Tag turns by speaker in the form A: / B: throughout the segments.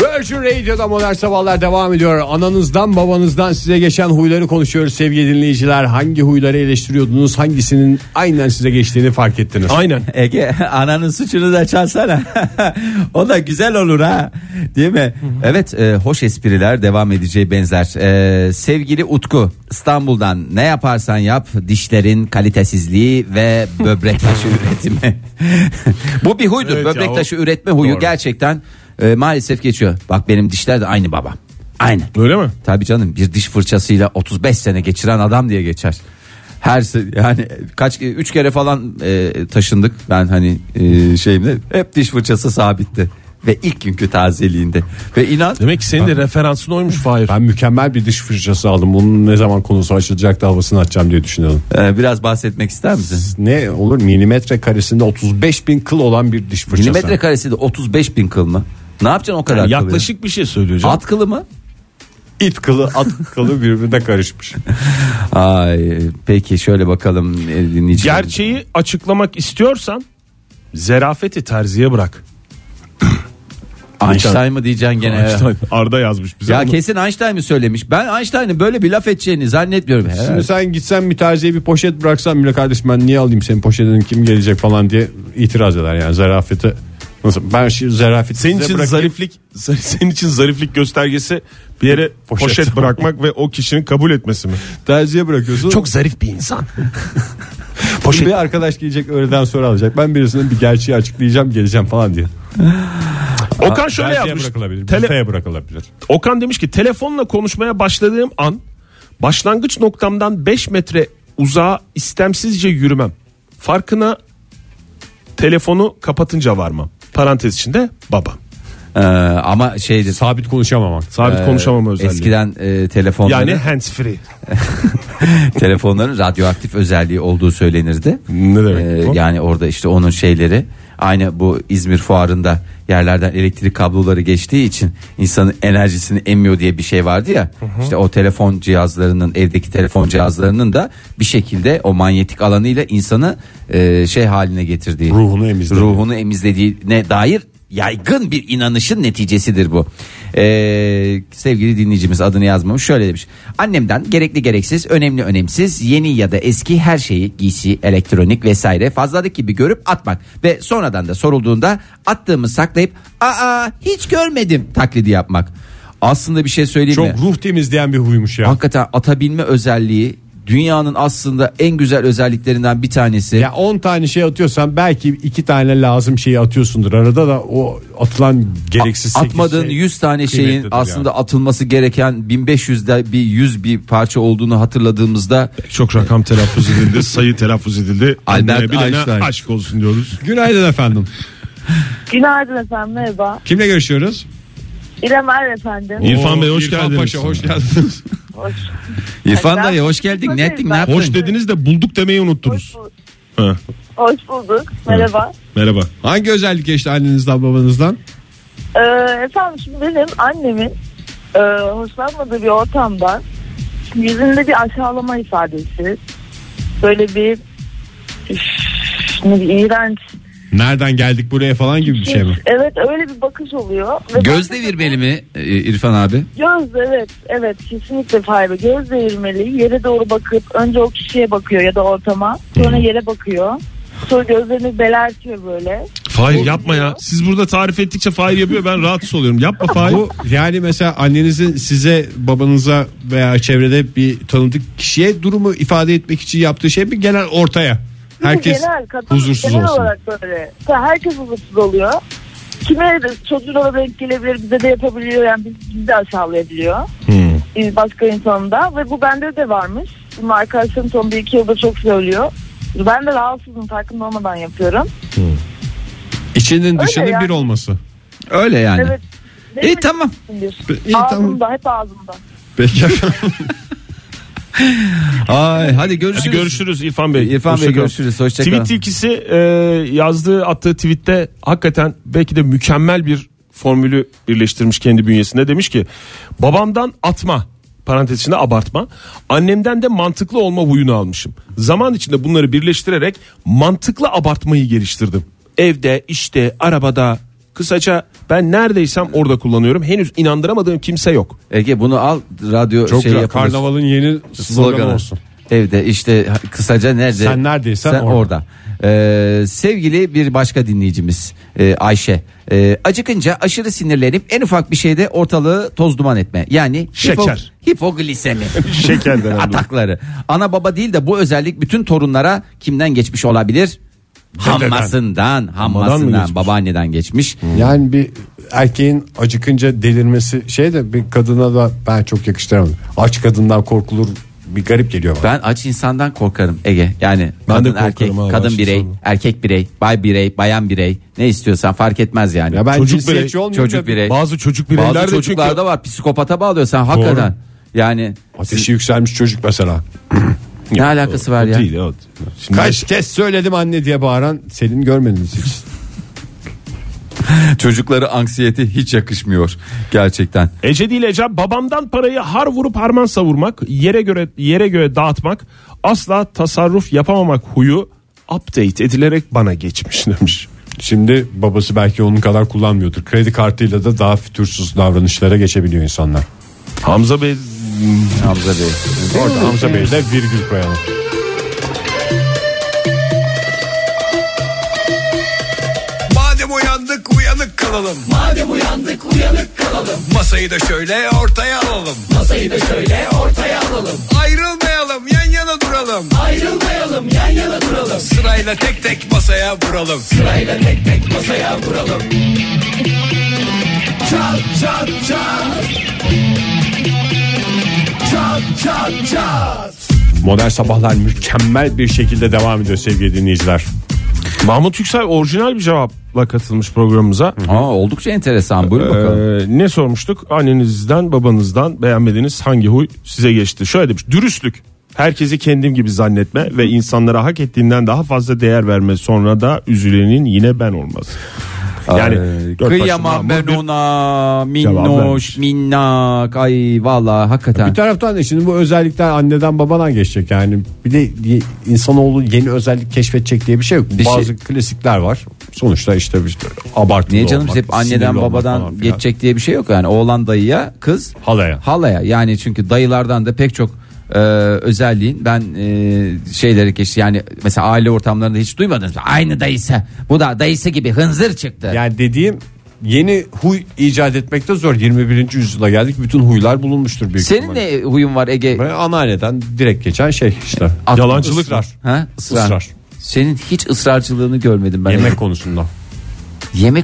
A: Radyo'da modern sabahlar devam ediyor. Ananızdan babanızdan size geçen huyları konuşuyoruz sevgili dinleyiciler. Hangi huyları eleştiriyordunuz? Hangisinin aynen size geçtiğini fark ettiniz?
B: Aynen.
C: Ege ananın suçunu da çalsana. o da güzel olur ha. Değil mi? Evet e, hoş espriler devam edeceği benzer. E, sevgili Utku İstanbul'dan ne yaparsan yap dişlerin kalitesizliği ve böbrek taşı üretimi. Bu bir huydur.
B: Evet ya,
C: böbrek
B: o-
C: taşı üretme huyu
B: Doğru.
C: gerçekten e, maalesef geçiyor. Bak benim dişler de aynı baba. Aynı.
B: Öyle mi?
C: Tabii canım bir diş fırçasıyla 35 sene geçiren adam diye geçer. Her se- yani kaç üç kere falan e, taşındık ben hani e, şeyimde hep diş fırçası sabitti ve ilk günkü tazeliğinde ve inan
B: Demek ki senin de referansın oymuş Fahir.
A: Ben mükemmel bir diş fırçası aldım. Bunun ne zaman konusu açılacak da havasını açacağım diye düşünüyorum.
C: e, biraz bahsetmek ister misin?
A: Ne olur milimetre karesinde 35 bin kıl olan bir diş fırçası.
C: Milimetre karesi de 35 bin kıl mı? Ne yapacaksın o kadar
B: Yani
C: kılı?
B: yaklaşık bir şey söylüyor canım.
C: At kılı mı?
A: İt kılı at kılı birbirine karışmış.
C: Ay peki şöyle bakalım e, dinleyiciler.
B: Gerçeği açıklamak istiyorsan zerafeti terziye bırak.
C: Einstein mı diyeceksin gene? ya?
B: Einstein, Arda yazmış bize.
C: Ya
B: onu.
C: kesin Einstein mi söylemiş? Ben Einstein'ın böyle bir laf edeceğini zannetmiyorum. Herhalde.
A: Şimdi sen gitsen bir terziye bir poşet bıraksan bile kardeşim ben niye alayım senin poşetini kim gelecek falan diye itiraz eder yani zarafeti. Nasıl? Ben şu zarafeti
B: Senin
A: size
B: için
A: bırakayım.
B: zariflik zar- senin için zariflik göstergesi bir yere poşet, bırakmak ve o kişinin kabul etmesi mi?
A: terziye bırakıyorsun. Çok
B: zarif bir insan.
A: poşet. Bir arkadaş gelecek öğleden sonra alacak. Ben birisinin bir gerçeği açıklayacağım geleceğim falan diye.
B: Okan şöyle
A: Terziye
B: yapmış.
A: bırakılabilir.
B: Tele-
A: büfeye bırakılabilir.
B: Okan demiş ki telefonla konuşmaya başladığım an başlangıç noktamdan 5 metre uzağa istemsizce yürümem. Farkına telefonu kapatınca varmam. Parantez içinde baba.
C: Ee, ama şeydir.
A: Sabit Ee, konuşamamak.
B: Sabit konuşamama özelliği.
C: Eskiden e, telefonların
B: yani hands free.
C: telefonların radyoaktif özelliği olduğu söylenirdi.
B: Ne demek
C: Ee,
B: bu?
C: yani orada işte onun şeyleri aynı bu İzmir fuarında yerlerden elektrik kabloları geçtiği için insanın enerjisini emmiyor diye bir şey vardı ya. İşte o telefon cihazlarının evdeki telefon cihazlarının da bir şekilde o manyetik alanıyla insanı e, şey haline getirdiği
A: Ruhunu emizlediği.
C: ruhunu emizlediğine dair yaygın bir inanışın neticesidir bu. Ee, sevgili dinleyicimiz adını yazmamış şöyle demiş. Annemden gerekli gereksiz, önemli önemsiz, yeni ya da eski her şeyi giysi, elektronik vesaire fazlalık gibi görüp atmak ve sonradan da sorulduğunda attığımı saklayıp aa hiç görmedim taklidi yapmak. Aslında bir şey söyleyeyim
A: Çok
C: mi?
A: ruh temizleyen bir huymuş ya.
C: Hakikaten atabilme özelliği dünyanın aslında en güzel özelliklerinden bir tanesi.
A: Ya 10 tane şey atıyorsan belki 2 tane lazım şeyi atıyorsundur. Arada da o atılan gereksiz sekiz
C: atmadığın
A: şey
C: 100 tane şeyin
A: kıymetlidir
C: aslında
A: yani.
C: atılması gereken 1500'de bir 100 bir parça olduğunu hatırladığımızda
B: Çok rakam telaffuz edildi, sayı telaffuz edildi.
C: Albert
B: Anlaya bilene
C: Einstein.
B: aşk olsun diyoruz.
A: Günaydın efendim.
D: Günaydın efendim merhaba.
A: Kimle görüşüyoruz?
D: İrem Er efendim.
B: İrfan Bey hoş
A: İrfan
B: geldiniz.
A: Paşa, hoş geldiniz.
D: Hoş,
C: İrfan
D: Ben-
C: dayı hoş geldin
D: Hoş
C: ne ettin ne
D: bulduk.
C: yaptın?
B: Hoş dediniz de bulduk demeyi
D: hoş,
B: unuttunuz.
D: bul-
B: Ha,
D: hoş bulduk merhaba.
B: merhaba.
A: Hangi özellik geçti annenizden babanızdan?
D: Ee, efendim şimdi benim annemin e, hoşlanmadığı bir ortamda şimdi yüzünde bir aşağılama ifadesi. Böyle bir üf, ne bir iğrenç.
A: Nereden geldik buraya falan gibi bir şey mi?
D: Evet öyle bir bakış oluyor. Ve
C: Göz
D: ben-
C: devirmeli mi e, İrfan abi?
D: Göz evet evet kesinlikle fayda. Göz devirmeli yere doğru bakıp önce o kişiye bakıyor ya da ortama
A: Hmm.
D: sonra yere bakıyor. Sonra gözlerini belertiyor böyle.
B: Fahir yapma ya. Siz burada tarif ettikçe Fahir yapıyor ben rahatsız oluyorum. Yapma Fahir.
A: Bu yani mesela annenizin size babanıza veya çevrede bir tanıdık kişiye durumu ifade etmek için yaptığı şey bir genel ortaya.
D: Çünkü
A: Herkes
D: genel, kadın
A: huzursuz
D: genel
A: olsun.
D: olarak böyle. Ya herkes huzursuz oluyor. Kime de çocuğuna da denk gelebilir bize de yapabiliyor yani biz, bizi de aşağılayabiliyor.
A: Hmm.
D: Biz başka insanında ve bu bende de varmış. Bunu arkadaşlarım son bir iki yılda çok söylüyor. Ben de rahatsızım farkında olmadan yapıyorum.
A: İçinin dışının
D: yani.
A: bir olması.
C: Öyle yani.
D: Evet.
C: İyi
D: Benim
C: tamam.
D: içindir.
A: iyi, tamam.
D: ağzımda hep ağzımda.
A: Peki
C: Ay hadi görüşürüz.
B: Hadi görüşürüz İrfan Bey.
C: İrfan Bey
B: Hoşça kalın.
C: görüşürüz hoşça kalın.
B: Tweet ilkisi e, yazdığı attığı tweette hakikaten belki de mükemmel bir formülü birleştirmiş kendi bünyesinde. Demiş ki babamdan atma parantez içinde abartma. Annemden de mantıklı olma huyunu almışım. Zaman içinde bunları birleştirerek mantıklı abartmayı geliştirdim. Evde, işte, arabada, Kısaca ben neredeysem orada kullanıyorum. Henüz inandıramadığım kimse yok.
C: Ege bunu al radyo
A: Çok
C: şey
A: güzel.
C: yapılır.
A: Karnavalın yeni sloganı
C: sloganı.
A: olsun.
C: Evde işte ha- kısaca nerede?
A: Sen neredeysen
C: Sen
A: orada.
C: orada. Ee, sevgili bir başka dinleyicimiz e, Ayşe. Ee, acıkınca aşırı sinirlenip en ufak bir şeyde ortalığı toz duman etme. Yani
B: Şeker.
C: hipo- hipoglisemi.
B: Şeker denen bu.
C: Atakları. Ana baba değil de bu özellik bütün torunlara kimden geçmiş olabilir? Hammasından, hammasından,
B: geçmiş? Hmm.
C: babaanneden geçmiş.
A: Yani bir erkeğin acıkınca delirmesi şey de bir kadına da ben çok yakıştıramadım. Aç kadından korkulur bir garip geliyor bana.
C: Ben aç insandan korkarım Ege. Yani
A: Ben şey
C: kadın
A: de korkarım
C: erkek,
A: abi, aç
C: kadın birey,
A: insandan.
C: erkek birey, bay birey, bayan birey ne istiyorsan fark etmez yani.
A: ya ben
B: Çocuk
A: cinsiyetçi
B: birey,
A: olmuyorum
C: çocuk
A: da
C: birey.
B: Bazı çocuk
C: Ee, Bazı
B: bireyler de
C: çocuklarda
B: çünkü
C: var psikopata bağlıyor sen hakikaten. Yani
A: Ateşi yükselmiş çocuk mesela.
C: ne alakası var ya?
B: Değil, evet. Şimdi
A: Kaç kez söyledim anne diye bağıran Selin görmediniz hiç.
C: Çocukları anksiyeti hiç yakışmıyor gerçekten.
B: Ece değil Ece babamdan parayı har vurup harman savurmak, yere göre yere göre dağıtmak, asla tasarruf yapamamak huyu update edilerek bana geçmiş demiş.
A: Şimdi babası belki onun kadar kullanmıyordur. Kredi kartıyla da daha fütursuz davranışlara geçebiliyor insanlar.
B: Hamza Bey
C: Hamza Bey.
A: Orada Hamza Bey'e de virgül koyalım.
E: Madem uyandık uyanık kalalım. Madem uyandık uyanık kalalım. Masayı da şöyle ortaya alalım. Masayı da şöyle ortaya alalım. Ayrılmayalım yan yana duralım. Ayrılmayalım yan yana duralım. Sırayla tek tek masaya vuralım. Sırayla tek tek masaya vuralım. Çat çat çat. Çat çat çat.
A: Modern Sabahlar mükemmel bir şekilde devam ediyor sevgili dinleyiciler.
B: Mahmut Yüksel orijinal bir cevapla katılmış programımıza.
C: Aa, oldukça enteresan buyurun bakalım.
B: Ee, ne sormuştuk? Annenizden, babanızdan beğenmediğiniz hangi huy size geçti? Şöyle demiş. Dürüstlük. Herkesi kendim gibi zannetme ve insanlara hak ettiğinden daha fazla değer verme. Sonra da üzülenin yine ben olması. Yani dört başlı
C: Kıyamam
B: Mahmut
C: ben
B: bir-
C: ona
B: Cevap
C: minnoş
B: vermiş.
C: minnak ay vallahi hakikaten.
A: Bir taraftan da şimdi bu özellikler anneden babadan geçecek yani. Bir de y- insanoğlu yeni özellik keşfedecek diye bir şey yok.
C: Bir
A: Bazı
C: şey-
A: klasikler var. Sonuçta işte bir abartılı
C: Niye canım
A: olmak,
C: hep
A: sinirli
C: anneden
A: olmak
C: babadan
A: falan filan.
C: geçecek diye bir şey yok yani oğlan dayıya kız
A: Halaya.
C: halaya yani çünkü dayılardan da pek çok e, özelliğin ben e, şeyleri geçti yani mesela aile ortamlarında hiç duymadınız mı? aynı dayısı bu da dayısı gibi hınzır çıktı.
A: Yani dediğim yeni huy icat etmekte zor. 21. yüzyıla geldik bütün huylar bulunmuştur büyük
C: Senin
A: ihtimalle.
C: ne huyun var Ege?
A: Ve anneanneden direkt geçen şey işte.
C: At-
B: Yalancılık.
A: Israr.
C: Ha? Israr.
A: Israr.
C: Senin hiç ısrarcılığını görmedim ben.
A: Yemek
C: Yemek,
A: konusunda.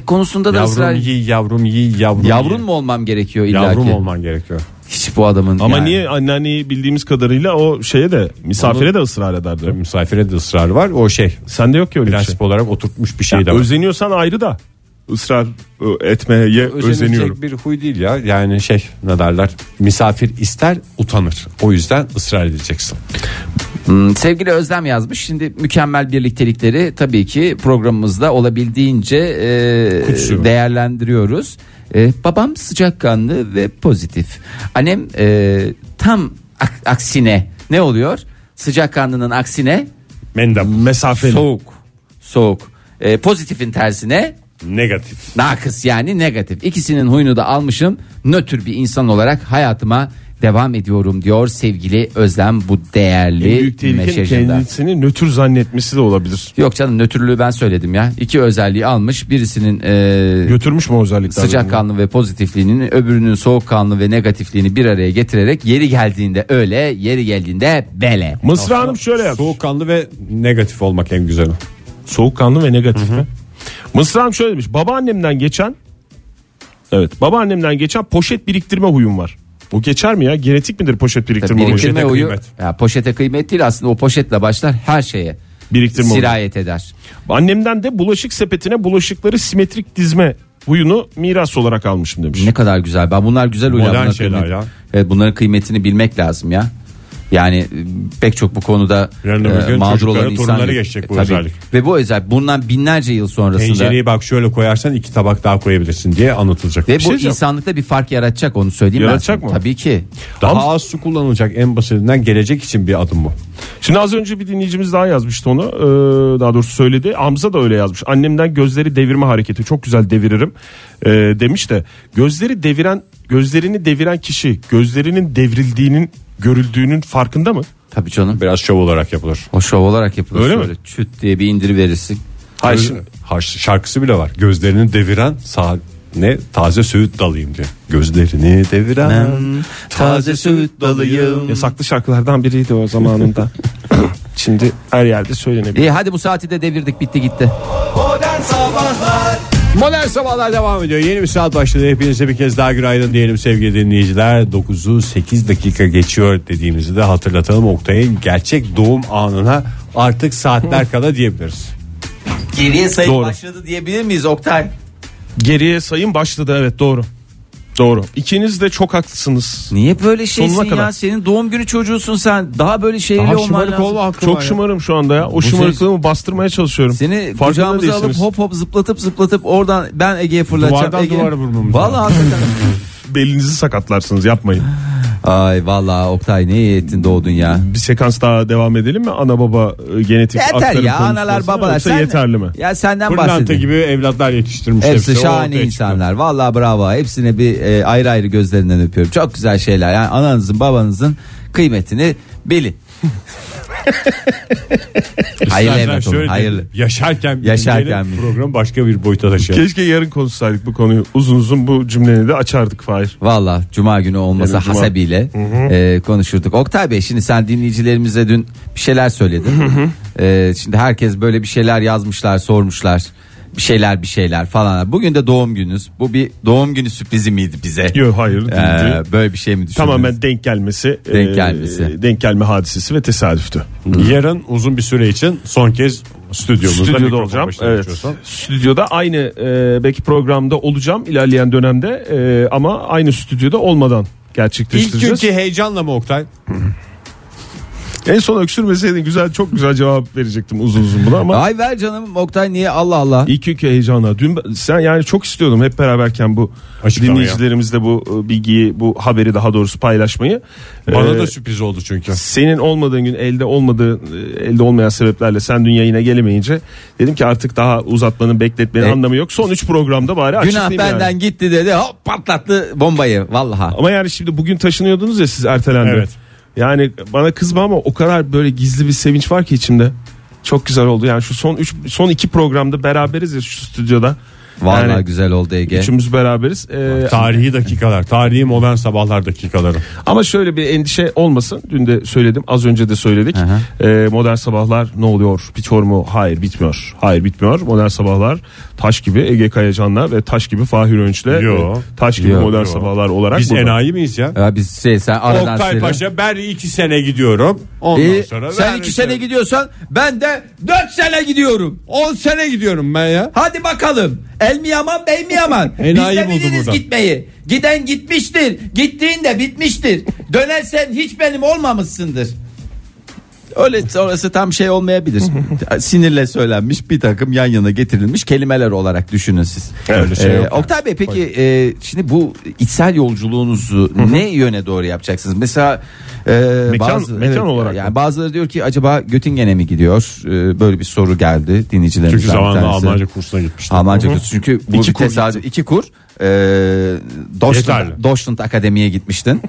C: konusunda da ısrar.
A: Yavrum yiy, yavrum yiy, yavrum yiy.
C: Yavrun mu olmam gerekiyor illa
A: Yavrum
C: ki?
A: olman gerekiyor.
C: Hiç bu adamın.
B: Ama
C: yani.
B: niye anneanneyi bildiğimiz kadarıyla o şeye de misafire de ısrar ederdi.
A: Misafire de ısrar var. O şey
B: Sende yok ya öyle bir şey.
A: prensip olarak oturtmuş bir şey de var.
B: Özeniyorsan ayrı da ısrar e, etmeye
A: Özenilecek
B: özeniyorum.
A: bir huy değil ya. Yani şey ne derler? Misafir ister utanır. O yüzden ısrar edeceksin.
C: Hmm, sevgili Özlem yazmış. Şimdi mükemmel birliktelikleri tabii ki programımızda olabildiğince e,
A: Kutsuyorum.
C: değerlendiriyoruz. E, babam sıcakkanlı ve pozitif. Annem e, tam ak- aksine ne oluyor? Sıcakkanlının aksine
A: Mendem. Mesafeli.
C: soğuk. Soğuk. E, pozitifin tersine
A: Negatif.
C: nakıs yani negatif. İkisinin huyunu da almışım. Nötr bir insan olarak hayatıma devam ediyorum diyor sevgili Özlem bu
B: En
C: değerli
B: büyük tehlike
C: mesajında.
B: kendisini nötr zannetmesi de olabilir.
C: Yok canım nötrlüğü ben söyledim ya. İki özelliği almış. Birisinin e,
B: Götürmüş mü o özellikler?
C: sıcakkanlı ve pozitifliğinin öbürünün soğukkanlı ve negatifliğini bir araya getirerek yeri geldiğinde öyle, yeri geldiğinde böyle.
B: Mısra Hanım şöyle yap.
A: Soğukkanlı ve negatif olmak en güzeli.
B: Soğukkanlı ve negatif mi? Mısra Hanım şöyle demiş. Babaannemden geçen Evet babaannemden geçen poşet biriktirme huyum var. Bu geçer mi ya? Genetik midir poşet biriktirme, huyu?
C: Biriktirme
A: poşete
C: uyu.
A: kıymet.
C: Ya poşete kıymet değil aslında o poşetle başlar her şeye.
B: Biriktirme huyu.
C: sirayet eder.
B: Annemden de bulaşık sepetine bulaşıkları simetrik dizme huyunu miras olarak almışım demiş.
C: Ne kadar güzel. Ben bunlar güzel huylar.
A: Modern
C: Bunlar
A: şeyler
C: kıymet-
A: ya.
C: Evet, bunların kıymetini bilmek lazım ya. Yani e, pek çok bu konuda
A: Yarın öbür
C: e,
A: gün
C: mağdur
A: çocuklara,
C: olan insan
A: torunlara
C: yok.
A: geçecek bu
C: E, tabii.
A: özellik.
C: Ve bu özellik bundan binlerce yıl sonrasında
A: Tencereyi bak şöyle koyarsan iki tabak daha koyabilirsin diye anlatılacak.
C: ve
A: Bir şey
C: bu
A: diyeceğim.
C: insanlıkta bir fark yaratacak onu söyleyeyim
B: Yaratacak
C: ben. sana.
B: mı?
C: Tabii ki.
A: daha az su kullanılacak en basitinden gelecek için bir adım bu.
B: Şimdi az önce bir dinleyicimiz daha yazmıştı onu. Ee, daha doğrusu söyledi. Hamza da öyle yazmış. Annemden gözleri devirme hareketi çok güzel deviririm ee, demiş de gözleri deviren gözlerini deviren kişi gözlerinin devrildiğinin görüldüğünün farkında mı?
C: Tabii canım.
A: Biraz şov olarak yapılır.
C: O şov olarak yapılır.
B: Öyle mi?
C: Şöyle Çüt diye bir indiri verirsin.
B: Hayır
A: Göz-
B: şimdi-
A: Har- şarkısı bile var. Gözlerini deviren sağ ne taze söğüt dalayım diye. Gözlerini deviren
C: Taze süt dalıyım.
B: Yasaklı şarkılardan biriydi o zamanında. Şimdi her yerde söylenebilir.
C: İyi hadi bu saati de devirdik bitti gitti.
A: Modern Sabahlar devam ediyor. Yeni bir saat başladı. Hepinize bir kez daha günaydın diyelim sevgili dinleyiciler. 9'u 8 dakika geçiyor dediğimizi de hatırlatalım. Oktay'ın gerçek doğum anına artık saatler kala diyebiliriz.
C: Geriye sayı
B: Doğru.
C: başladı diyebilir miyiz Oktay?
B: Geriye sayım başladı evet doğru. Doğru. İkiniz de çok haklısınız.
C: Niye böyle şeysin
B: Sonuna kadar.
C: ya? Senin doğum günü çocuğusun sen. Daha böyle şeyli
A: Daha
C: olman
A: şımarık
C: lazım.
A: olma hakkı var
B: Çok
A: ya.
B: şımarım şu anda ya. O şımarıklığımı bastırmaya çalışıyorum.
C: şey- Seni
B: Farkında
C: kucağımıza alıp
B: değilsiniz.
C: hop hop zıplatıp zıplatıp oradan ben Ege'ye fırlatacağım.
A: Duvardan
C: Ege...
A: duvara vurmamız
C: Valla
B: belinizi sakatlarsınız yapmayın.
C: Ay valla Oktay ne iyi ettin doğdun ya.
B: Bir sekans daha devam edelim mi? Ana baba e, genetik
C: Yeter
B: aktarım
C: ya
B: konusu
C: analar
B: olsun.
C: babalar.
B: Yoksa
C: Sen-
B: yeterli mi?
C: Ya senden
A: Pırlanta
C: bahsedeyim.
A: gibi evlatlar yetiştirmiş.
C: Hepsi
A: o
C: şahane
A: ortaya çıkıyor.
C: insanlar. Vallahi bravo. Hepsine bir e, ayrı ayrı gözlerinden öpüyorum. Çok güzel şeyler. Yani ananızın babanızın kıymetini bilin. hayırlı
A: İstersen
C: evlat olun.
A: şöyle
C: Hayırlı.
A: diyelim. Yaşarken
C: Yaşarken
A: yaşarken
C: bilin.
A: program başka bir boyuta taşıyalım.
B: Keşke yarın konuşsaydık bu konuyu. Uzun uzun bu cümleni de açardık Fahir.
C: Valla cuma günü olmasa
B: Yarın cuma.
C: hasabiyle e, konuşurduk. Oktay Bey şimdi sen dinleyicilerimize dün bir şeyler söyledin. E, şimdi herkes böyle bir şeyler yazmışlar sormuşlar. Bir şeyler bir şeyler falan. Bugün de doğum gününüz. Bu bir doğum günü sürprizi miydi bize?
B: Yok hayır
C: E,
B: değildi.
C: böyle bir şey mi düşündünüz?
B: Tamamen denk gelmesi, e,
C: Denk gelmesi.
B: denk gelme hadisesi ve tesadüftü.
A: Yarın uzun bir süre için son kez stüdyomuzda
B: Stüdyoda
A: mikrofon
B: olacağım.
A: başına
B: Evet.
A: geçiyorsan.
B: Stüdyoda aynı e, belki programda olacağım ilerleyen dönemde e, ama aynı stüdyoda olmadan
A: İlk
B: gerçekleştireceğiz.
A: günkü heyecanla mı Oktay?
B: En son öksürmeseydin güzel çok güzel cevap verecektim uzun uzun buna ama
C: Ay ver canım Oktay niye Allah Allah.
B: İlk günkü heyecanla. Dün ben- sen yani çok istiyordum hep beraberken bu
A: Açıklamayı.
B: dinleyicilerimizle bu e, bilgiyi, bu haberi daha doğrusu paylaşmayı.
A: Bana
B: Ee,
A: da sürpriz oldu çünkü.
B: senin olmadığın gün elde olmadığı e, elde olmayan sebeplerle sen dün yayına gelemeyince dedim ki artık daha uzatmanın bekletmenin
C: E,
B: anlamı yok. Son 3 programda bari
C: Günah
B: açıklayayım yani.
C: benden gitti dedi hop patlattı bombayı vallaha.
B: Ama yani şimdi bugün taşınıyordunuz ya siz ertelendi.
A: Evet.
B: Yani bana kızma ama o kadar böyle gizli bir sevinç var ki içimde. Çok güzel oldu yani şu son üç, son iki programda beraberiz ya şu stüdyoda.
C: Vallahi
B: Yani-
C: güzel oldu Ege.
B: Üçümüz beraberiz. Ee,
A: Tarihi dakikalar, tarihi modern sabahlar dakikaları.
B: ama şöyle bir endişe olmasın. Dün de söyledim, az önce de söyledik.
C: Aha.
B: Ee, modern sabahlar ne oluyor? Bitiyor mu? Hayır, bitmiyor. Hayır, bitmiyor. Modern sabahlar taş gibi Ege Kayacan'la ve taş gibi Fahir Önç'le
A: Yo.
B: e, taş gibi
C: Yo.
A: Yo.
B: modern sabahlar olarak
A: Biz
B: burada.
A: enayi miyiz ya?
C: Ya biz şey sen aradan
A: Oktay
C: sıyrı-
A: Paşa ben iki sene gidiyorum. Ondan
C: Ee,
A: sonra şey.
C: sen
A: ben
C: iki sene gidiyorsan ben de dört sene gidiyorum.
A: 10 sene gidiyorum ben ya.
C: Hadi bakalım. El mi yaman bey mi yaman? Biz
A: Enayi
C: de
A: buldu
C: biliriz
A: burada.
C: gitmeyi. Giden gitmiştir. Gittiğin de bitmiştir. Dönersen hiç benim olmamışsındır. Öyle orası tam şey olmayabilir. Sinirle söylenmiş bir takım yan yana getirilmiş kelimeler olarak düşünün siz. Ee,
A: Öyle şey yok yani.
C: Oktay Bey peki e, şimdi bu içsel yolculuğunuzu ne yöne doğru yapacaksınız? Mesela e,
B: Mekan- mekan olarak
C: yani bazıları diyor ki acaba Göttingen'e mi gidiyor? E, böyle bir soru geldi dinleyicilerimizden.
A: Çünkü
C: bir
A: zamanında
C: tanesi.
A: Almanca kursuna gitmiştim.
C: Almanca kursu çünkü bu
B: İki
C: bir
B: kur
C: tesadüf. iki kur. E, Deutschland,
A: Yeterli.
C: Deutschland Akademi'ye gitmiştin.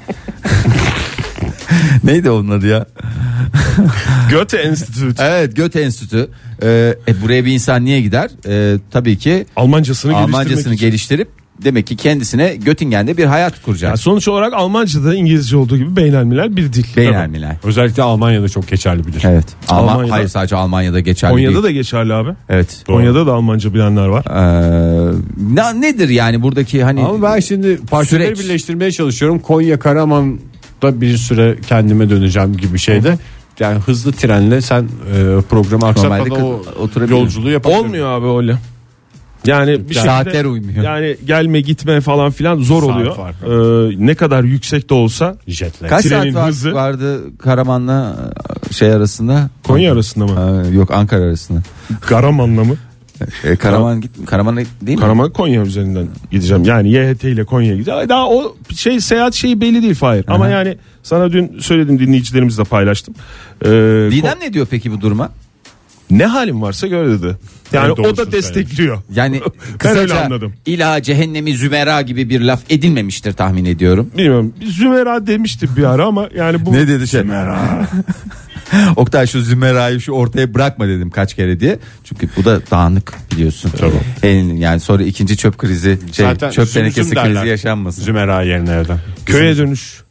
C: Neydi onun adı ya?
B: Goethe Enstitüsü.
C: Evet Göte Enstitü. E, e, buraya bir insan niye gider? E, tabii ki
B: Almancasını,
C: Almancasını
B: geliştirmek için.
C: geliştirip demek ki kendisine Göttingen'de bir hayat kuracak.
B: Yani sonuç olarak Almanca'da İngilizce olduğu gibi beynelmiler bir dil.
C: Beynelmiler.
A: Özellikle Almanya'da çok geçerli bilir.
C: Evet. Alman,
B: Almanya'da-
C: hayır sadece Almanya'da geçerli
B: Konya'da
C: değil.
B: da geçerli abi.
C: Evet.
B: Konya'da da Almanca bilenler var.
C: Ee, na- nedir yani buradaki hani
A: Ama ben şimdi parçaları
C: Süreç.
A: birleştirmeye çalışıyorum. Konya Karaman'da bir süre kendime döneceğim gibi şeyde. Yani hızlı trenle sen e, programı aksatmadan
C: Normalde kı-
A: o
C: oturabilirim.
A: yolculuğu yapabiliyorsun.
B: Olmuyor abi öyle. Yani bir
C: Saatler
B: şekilde-
C: uymuyor.
B: Yani gelme gitme falan filan zor
A: Saat
B: oluyor.
A: farkı.
B: Ee, ne kadar yüksek de olsa
A: Jetle.
C: Kaç
B: Trenin
C: saat var-
B: hızı-
C: vardı Karaman'la e, şey arasında?
B: Konya arasında mı?
C: Aa, yok Ankara arasında.
B: Karaman'la mı?
C: E, Karaman git Karaman değil mi?
B: Karaman Konya üzerinden gideceğim. Yani YHT ile Konya'ya gideceğim. Daha o şey seyahat şeyi belli değil Fahir. Ama yani sana dün söyledim dinleyicilerimizle paylaştım. Ee,
C: Didem
B: ko-
C: ne diyor peki bu duruma?
B: ne halim varsa gör dedi. Yani
A: Ben doğrusunu
B: o da destekliyor.
C: Yani
B: ben öyle
C: kısaca
B: anladım.
C: ila cehennemi zümera gibi bir laf edilmemiştir tahmin ediyorum.
B: Bilmiyorum. Zümera demişti bir ara ama yani bu
C: Ne dedi şey? Oktay şu Zümera'yı şu ortaya bırakma dedim kaç kere diye. Çünkü bu da dağınık biliyorsun. En- yani sonra ikinci çöp krizi, şey,
A: Zaten
C: çöp
A: züm züm
C: tenekesi
A: derler.
C: krizi yaşanmasın.
A: Zümera yerine evden.
B: köye dönüş.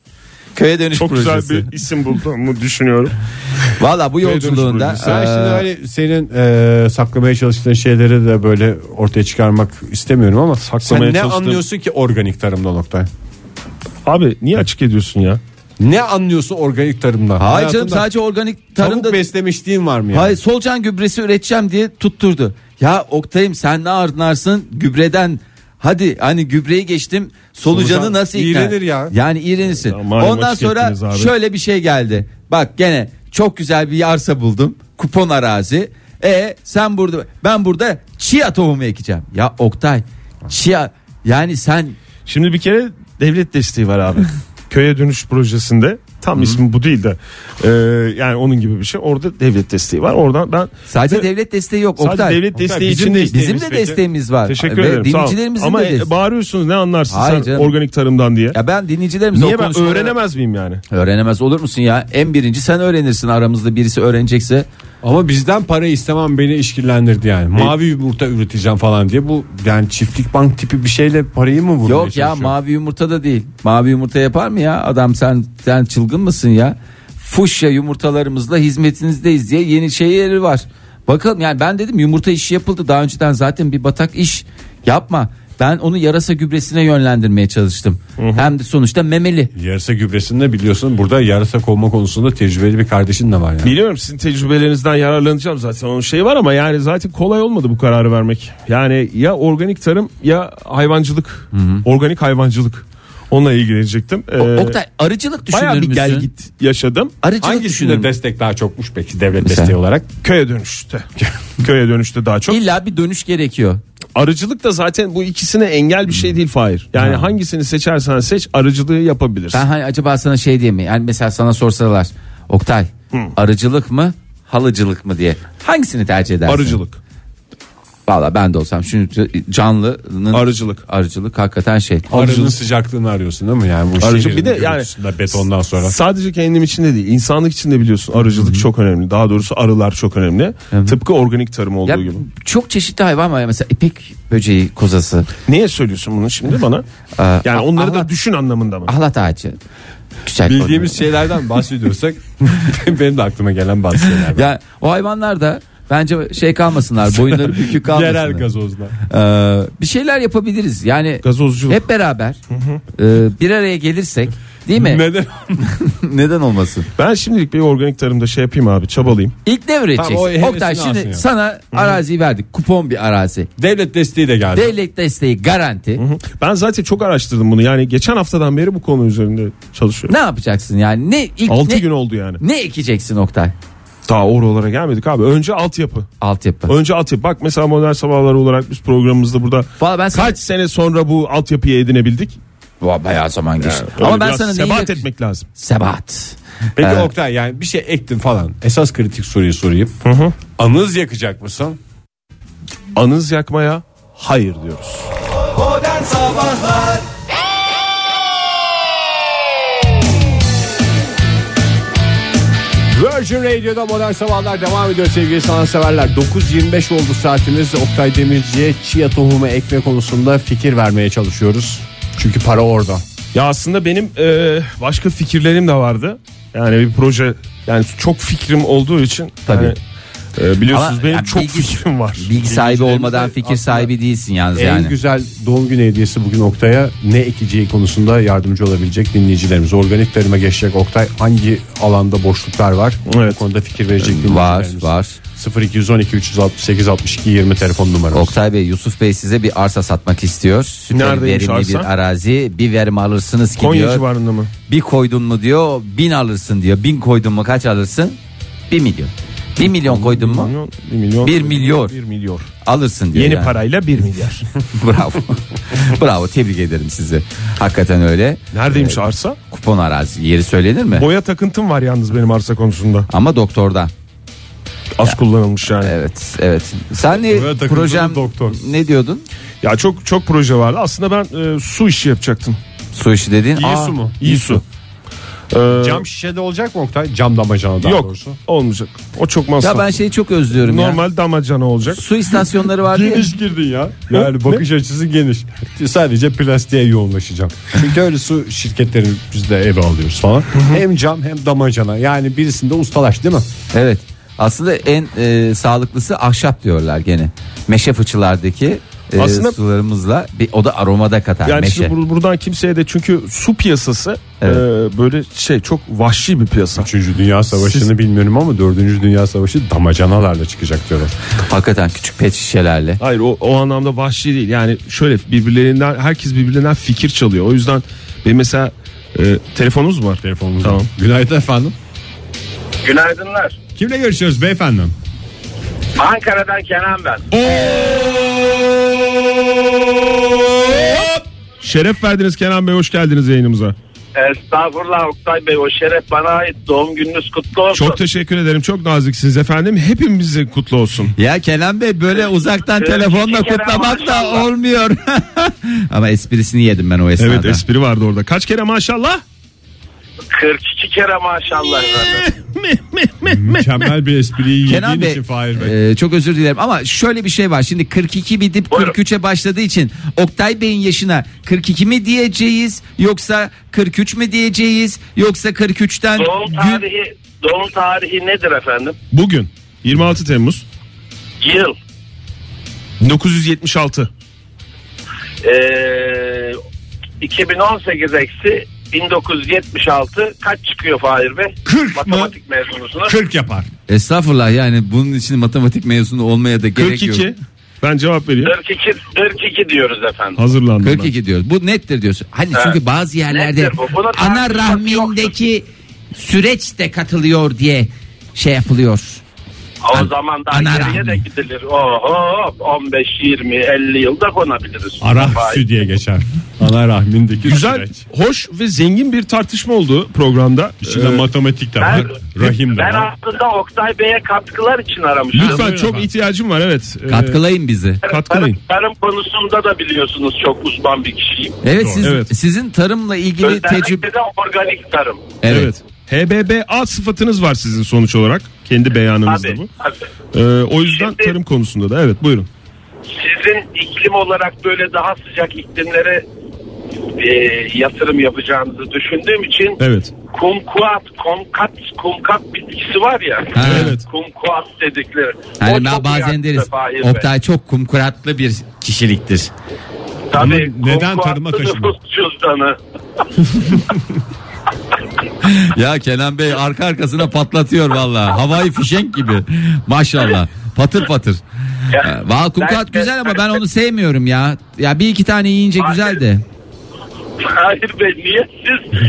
C: Köye dönüş
B: Çok
C: projesi.
B: güzel bir isim bulduğumu düşünüyorum.
C: Valla bu yolculuğunda e,
B: projesi.
A: Sen şimdi
C: eee,
A: hani senin e, saklamaya çalıştığın şeyleri de böyle ortaya çıkarmak istemiyorum ama
B: Saklamaya
A: sen ne
B: çalıştığım-
A: anlıyorsun ki organik tarımda nokta?
B: Abi niye açık ediyorsun ya?
A: Ne anlıyorsun organik tarımda?
C: hayır
A: Hayatında
C: canım sadece organik
A: tavuk
C: tarımda
A: beslemişliğin var mı yani?
C: Hayır solucan gübresi üreteceğim diye tutturdu. Ya Oktay'ım sen ne ardınarsın gübreden Hadi hani gübreyi geçtim solucanı
A: Solucan
C: nasıl ikna?
A: iğrenir ya.
C: Yani iğrenirsin.
B: Ya, malum
C: Ondan
B: açık
C: sonra
B: ettiniz abi.
C: şöyle bir şey geldi. Bak gene çok güzel bir arsa buldum. Kupon arazi. E sen burada ben burada chia tohumu ekeceğim. Ya Oktay chia yani sen
B: Şimdi bir kere devlet desteği var abi. Köye dönüş projesinde tam ismi bu değil de e, yani onun gibi bir şey. Orada devlet desteği var. Oradan ben
C: sadece
B: Ve-
C: devlet desteği yok
B: Sadece
C: Oktay.
B: devlet desteği
A: bizim
B: için
A: de
B: değil.
C: Bizim de
A: Peki.
C: desteğimiz var.
B: Teşekkür
C: Ve
B: ederim. sağ ol.
C: Dinleyicilerimizin
B: Ama
C: de desteği.
B: e, bağırıyorsunuz ne anlarsın
C: Hayır
B: sen
C: canım.
B: organik tarımdan diye.
C: Ya ben dinleyicilerimize
B: Niye
C: o
B: ben
C: konuşmalara-
B: öğrenemez miyim yani?
C: Öğrenemez olur musun ya? En birinci sen öğrenirsin aramızda birisi öğrenecekse.
A: Ama bizden para istemem beni işkillendirdi yani. Mavi yumurta üreteceğim falan diye bu yani çiftlik bank tipi bir şeyle parayı mı vurmaya
C: Yok ya
A: çalışıyor?
C: mavi yumurta da değil. Mavi yumurta yapar mı ya? Adam sen sen çılgın mısın ya? Fuşya yumurtalarımızla hizmetinizdeyiz diye yeni şeyleri var. Bakalım yani ben dedim yumurta işi yapıldı daha önceden zaten bir batak iş yapma. Ben onu yarasa gübresine yönlendirmeye çalıştım. Hem de sonuçta memeli.
A: Yarasa gübresini de biliyorsun burada yarasa kovma konusunda tecrübeli bir kardeşin de var yani.
B: Biliyorum sizin tecrübelerinizden yararlanacağım zaten onun şeyi var ama yani zaten kolay olmadı bu kararı vermek. Yani ya organik tarım ya hayvancılık. Organik hayvancılık. Onunla ilgilenecektim.
C: O-
B: Ee,
C: Oktay arıcılık düşünür
B: Bayağı bir
C: müsün?
B: gel git yaşadım.
C: Arıcılık düşünür
A: Hangisinde
C: müsün?
A: destek daha çokmuş peki devlet
C: Mesela.
A: desteği olarak?
B: Köye dönüşte. Köye dönüşte daha çok.
C: İlla bir dönüş gerekiyor.
B: Arıcılık da zaten bu ikisine engel bir
A: Hmm.
B: şey değil Fahir. Yani hangisini seçersen seç arıcılığı yapabilirsin.
C: Ben hani acaba sana şey diye mi? Yani mesela sana sorsalar Oktay arıcılık mı halıcılık mı diye. Hangisini tercih edersin?
B: Arıcılık.
C: Valla ben de olsam şimdi canlının
B: Arıcılık.
C: arıcılık hakikaten şey.
A: Arının sıcaklığını arıyorsun değil mi yani bu
B: Arıcı
A: şehrin
B: bir de yani
A: gürültüsünde, betondan sonra.
B: Sadece kendim için de değil, insanlık için de biliyorsun arıcılık çok önemli. Daha doğrusu arılar çok önemli. Tıpkı organik tarım olduğu
C: Ya,
B: gibi.
C: çok çeşitli hayvan var mesela ipek böceği kozası,
B: Niye söylüyorsun bunu şimdi bana?
C: Ee,
B: yani
C: a-
B: onları da
C: anlat.
B: düşün anlamında mı?
C: ahlat ağacı. Güzel
A: Bildiğimiz şeylerden bahsediyorsak benim de aklıma gelen bazı şeyler.
C: Ya o hayvanlar da bence şey kalmasınlar, boyunları bükük kalmasınlar.
A: Yerel gazozlar.
C: Ee, bir şeyler yapabiliriz. Yani
B: Gazozculuk.
C: hep beraber e, bir araya gelirsek değil mi?
A: Neden?
C: Neden olmasın?
B: Ben şimdilik bir organik tarımda şey yapayım abi, çabalayayım.
C: İlk ne üreteceksin?
A: Tamam, o hevesini
C: Oktay şimdi
A: alsın ya.
C: sana araziyi verdik. Kupon bir arazi.
A: Devlet desteği de geldi.
C: Devlet desteği garanti.
B: Ben zaten çok araştırdım bunu. Yani geçen haftadan beri bu konu üzerinde çalışıyorum.
C: Ne yapacaksın yani? Ne ilk
B: 6
C: ne,
B: gün oldu yani.
C: ne ekeceksin Oktay?
B: Daha oralara gelmedik abi. Önce altyapı.
C: Altyapı.
B: Önce altyapı. Bak mesela modern sabahlar olarak biz programımızda burada
C: Valla ben sana-
B: kaç sene sonra bu altyapıyı edinebildik?
C: Va- bayağı zaman geçti.
B: Öyle
C: Ama ben
B: biraz
C: sana neyi
B: sebat
C: yak-
B: etmek lazım.
C: Sebat.
A: Peki
C: Ee,
A: Oktay yani bir şey ektin falan. Esas kritik soruyu sorayım. Anız yakacak mısın?
B: Anız yakmaya hayır diyoruz.
A: Virgin Radio'da modern sabahlar devam ediyor sevgili sanatseverler. 9.25 oldu saatimiz. Oktay Demirci'ye chia tohumu ekme konusunda fikir vermeye çalışıyoruz. Çünkü para orada.
B: Ya aslında benim e, başka fikirlerim de vardı. Yani bir proje yani çok fikrim olduğu için
C: Tabii.
B: yani, Ee, biliyorsunuz
C: Ama
B: benim
C: yani
B: çok
C: bilgi-
B: fikrim var.
C: Bilgi sahibi olmadan fikir sahibi değilsin yalnız
A: En
C: yani.
A: güzel doğum günü hediyesi bugün Oktay'a ne ekeceği konusunda yardımcı olabilecek dinleyicilerimiz. Organik tarıma geçecek Oktay hangi alanda boşluklar var?
B: Evet.
A: Bu konuda fikir verecek
C: Var
A: dinleyicilerimiz.
C: var.
A: 0212 368 62 20 telefon numaramız.
C: Oktay Bey Yusuf Bey size bir arsa satmak istiyor. Süper
B: Neredeymiş
C: verimli
B: arsa?
C: bir arazi. Bir verim alırsınız ki
B: Konya
C: diyor.
B: civarında mı?
C: Bir koydun mu diyor bin alırsın diyor. Bin koydun mu kaç alırsın? Bir milyon. Bir milyon koydun mu
B: Milyon, bir milyon.
C: Bir milyon.
B: Bir milyon.
C: alırsın diyor.
B: Yeni
C: yani.
B: parayla bir milyar.
C: Bravo. Bravo tebrik ederim sizi. Hakikaten öyle.
B: Neredeymiş arsa?
C: Kupon arazi yeri söylenir mi?
B: Boya takıntım var yalnız benim arsa konusunda.
C: Ama doktorda.
B: Az kullanılmış yani.
C: Evet, evet. Sen ne
A: takıldığın
C: projem
A: doktor.
C: ne diyordun?
B: Ya çok çok proje vardı. Aslında ben e, su işi yapacaktım.
C: Su işi dediğin.
A: İyi
C: Aa,
A: su mu?
B: İyi su. Ee,
A: Cam şişede olacak mı Oktay? Cam damacana daha
B: yok
A: doğrusu.
B: olmayacak. O çok masraflı.
C: Ya ben şeyi çok özlüyorum ya.
B: Normal damacana olacak.
C: Su istasyonları var ya.
A: Geniş girdin ya. Yani bakış açısı geniş. Sadece plastiğe yoğunlaşacağım. Çünkü öyle su şirketleri biz de eve alıyoruz falan. hem cam hem damacana. Yani birisinde ustalaş değil mi?
C: Evet. Aslında en e, sağlıklısı ahşap diyorlar gene. Meşe fıçılardaki e,
B: Aslında-
C: sularımızla bir o da aromada katar
B: Yani
C: meşe.
B: şimdi bur- buradan kimseye de çünkü su piyasası
C: Evet.
B: e, böyle şey çok vahşi bir piyasa.
A: Üçüncü Dünya Savaşı'nı
B: Siz-
A: bilmiyorum ama Dördüncü Dünya Savaşı damacanalarla çıkacak diyorlar.
C: Hakikaten küçük pet şişelerle.
B: Hayır o, o anlamda vahşi değil. Yani şöyle birbirlerinden herkes birbirlerinden fikir çalıyor. O yüzden benim mesela e, telefonumuz mu var?
A: Telefonumuz
B: Tamam.
A: Günaydın efendim.
F: Günaydınlar.
A: Kimle görüşüyoruz beyefendi?
F: Ankara'dan Kenan ben.
B: Şeref verdiniz Kenan Bey hoş geldiniz yayınımıza.
F: Estağfurullah Oktay Bey o şeref bana ait. Doğum gününüz kutlu olsun.
B: Çok teşekkür ederim. Çok naziksiniz efendim. Hepimizin kutlu olsun.
C: Ya Kenan Bey böyle uzaktan
F: Evet,
C: telefonla
F: iki kere
C: kutlamak da
F: maşallah.
C: olmuyor. Ama esprisini yedim ben o esnada.
B: Evet espri vardı orada. Kaç kere maşallah?
F: 42 kere maşallah. efendim.
A: Mükemmel bir espriyi
C: Kenan
A: yediğin
C: Bey,
A: için Fahir Bey.
C: e, çok özür dilerim ama şöyle bir şey var. Şimdi 42 bitip
F: Buyurun.
C: 43'e başladığı için Oktay Bey'in yaşına 42 mi diyeceğiz yoksa 43 mi diyeceğiz yoksa 43'ten
F: Doğum
C: gün...
F: tarihi doğum tarihi nedir efendim?
B: Bugün 26 Temmuz
F: Yıl.
B: 1976.
F: Ee, 2018 eksi 1976 kaç çıkıyor Fahir Bey?
A: 40 mı?
F: Matematik mezunusunuz.
A: 40 yapar.
C: Estağfurullah yani bunun için matematik mezunu olmaya da gerek
B: 42.
C: yok.
B: Ben cevap vereyim.
F: 42 42 diyoruz efendim.
B: Hazırlandım ben.
C: 42 diyoruz. Bu nettir diyorsun. Hani çünkü bazı yerlerde
F: Nettir bu. Buna
C: ana
F: tartışmak
C: rahmindeki süreç de katılıyor diye şey yapılıyor.
F: O
C: An-
F: zaman daha
C: ana
F: geriye de
C: rahmi.
F: gidilir. Oho 15 20 50 yılda konabiliriz.
A: Ara
F: Fahir.
A: sütü diye geçer. Ana rahmindeki
B: Güzel,
A: süreç.
B: hoş ve zengin bir tartışma oldu programda.
A: İçinde
B: Ee,
A: matematik de
F: Ben,
A: var. rahim de
F: ben
A: var.
F: aslında Oktay Bey'e katkılar için aramıştım.
B: Lütfen çok
A: efendim.
B: ihtiyacım var evet. Ee,
C: Katkılayın bizi.
B: katkılayın.
F: Tarım, tarım konusunda da biliyorsunuz çok uzman bir kişiyim.
C: Evet, siz,
B: Evet.
C: sizin tarımla ilgili tecrübe
F: Özellikle de organik tarım.
B: Evet. HBBA sıfatınız var sizin sonuç olarak. Kendi beyanınızda
F: Abi,
B: bu. Ee, o yüzden
F: Şimdi-
B: tarım konusunda da evet buyurun.
F: sizin iklim olarak böyle daha sıcak iklimlere e, yatırım yapacağınızı düşündüğüm için
B: Evet.
F: kumkuat, kumkat, kumkat bitkisi var ya.
C: Ha.
B: Evet.
F: Kumkuat dedikleri. O
C: Yani ben
F: çok
C: bazen
F: iyi
C: deriz
F: aslında Fahir Bey.
C: Oktay çok kumkuratlı bir kişiliktir.
F: Tabii,
A: Ama neden
F: kumkuat
A: tarıma taşıma?
F: nüfus cüzdanı.
C: ya Kenan Bey arka arkasına patlatıyor valla. Havai fişenk gibi. Maşallah. Patır patır. Ee,
F: Ya,
C: Valla kumkurat
F: ben-
C: güzel ama ben onu sevmiyorum ya. Ya bir iki tane yiyince güzel de.
F: Hayır be niye siz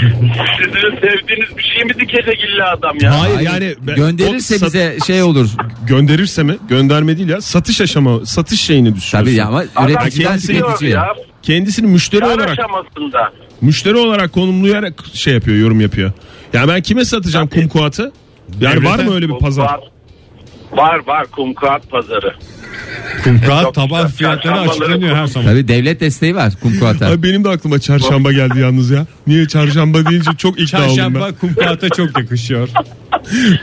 F: sizin sevdiğiniz bir şey mi dikecek illa adam ya?
B: Hayır,
C: Ay,
B: yani ben- o
C: gönderirse
B: sat-
C: bize şey olur.
B: Gönderirse mi? Gönderme değil ya. Satış aşama, satış şeyini düşünüyorsun.
C: Tabii ya ama
F: Adam
C: üreticiden
F: kendisi yok
C: tüketiciye.
F: ya.
B: Kendisini müşteri
F: Kar
B: olarak
F: aşamasında.
B: müşteri olarak konumlayarak şey yapıyor, yorum yapıyor. Ya ben kime satacağım kumkuatı? Yani
A: Devlete.
B: var mı öyle bir pazar?
F: Kumkuat- Var var kumkuat pazarı.
A: Kumral
F: Çok
A: taban
F: güzel.
A: fiyatları
F: Çarşambaları
A: açıklanıyor her zaman.
C: Tabii devlet desteği var kumkurata.
B: Ay benim de aklıma çarşamba geldi yalnız ya. Niye çarşamba deyince çok ikna oldum ben.
A: Çarşamba kumkuata çok yakışıyor.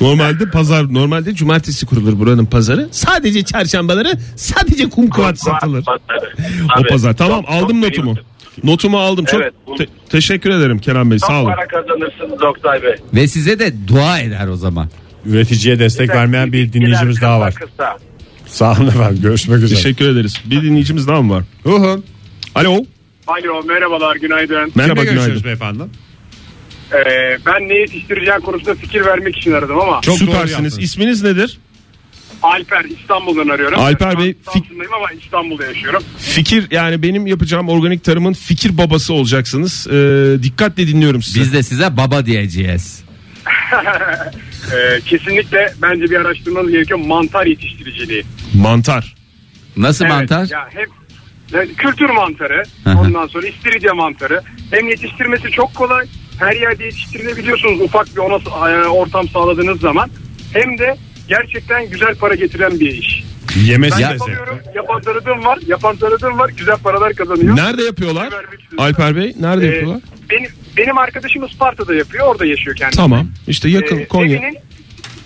B: Normalde pazar, normalde cumartesi kurulur buranın pazarı. Sadece çarşambaları sadece kumkuat satılır.
F: Pazarı.
B: O
F: Tabii.
B: pazar. Tamam
F: Çok-
B: aldım
F: çok
B: notumu.
F: iyi.
B: Notumu aldım. Çok
F: Evet, bu-
B: te- teşekkür ederim Kenan Bey.
F: Çok
B: Sağ olun.
F: para kazanırsınız Oktay Bey.
C: Ve size de dua eder o zaman.
A: Üreticiye destek vermeyen bir dinleyicimiz daha var.
F: Kısa.
A: Sağ olun efendim. Görüşmek üzere.
B: Teşekkür ederiz. Bir dinleyicimiz daha mı var?
A: Hı hı.
B: Alo.
G: Alo merhabalar günaydın.
B: Merhaba
A: Kimle
B: günaydın.
A: görüşüyoruz beyefendi?
G: Ee, ben ne yetiştireceğim konusunda fikir vermek için aradım ama
A: Çok doğru
B: Süpersiniz.
A: yaptınız.
B: İsminiz nedir?
G: Alper İstanbul'dan arıyorum.
B: Alper Bey,
G: Ben Samsun'dayım ama İstanbul'da yaşıyorum.
B: Fikir yani benim yapacağım organik tarımın fikir babası olacaksınız. Ee, dikkatle dinliyorum sizi.
C: Biz de size baba diyeceğiz.
G: Ee, kesinlikle bence bir araştırmanız gerekiyor mantar yetiştiriciliği.
B: Mantar.
C: Nasıl
G: Evet,
C: mantar?
G: Ya hep yani kültür mantarı,
C: Hı hı.
G: ondan sonra istiridye mantarı. Hem yetiştirmesi çok kolay. Her yerde yetiştirilebiliyorsunuz ufak bir ona e, ortam sağladığınız zaman. Hem de gerçekten güzel para getiren bir iş.
A: Yemesi
C: Ya-
A: de zevkli.
G: Yapamıyorum. Yapan tanıdığım var. Yapan tanıdığım var. Güzel paralar kazanıyor.
B: Nerede yapıyorlar?
G: Haber bekliyoruz.
B: Alper Bey nerede
G: Ee,
B: yapıyorlar?
G: benim, benim arkadaşım Isparta'da yapıyor. Orada yaşıyor kendisi.
B: Tamam.
F: e,
B: İşte yakın
G: Ee,
B: Konya.
G: Evinin,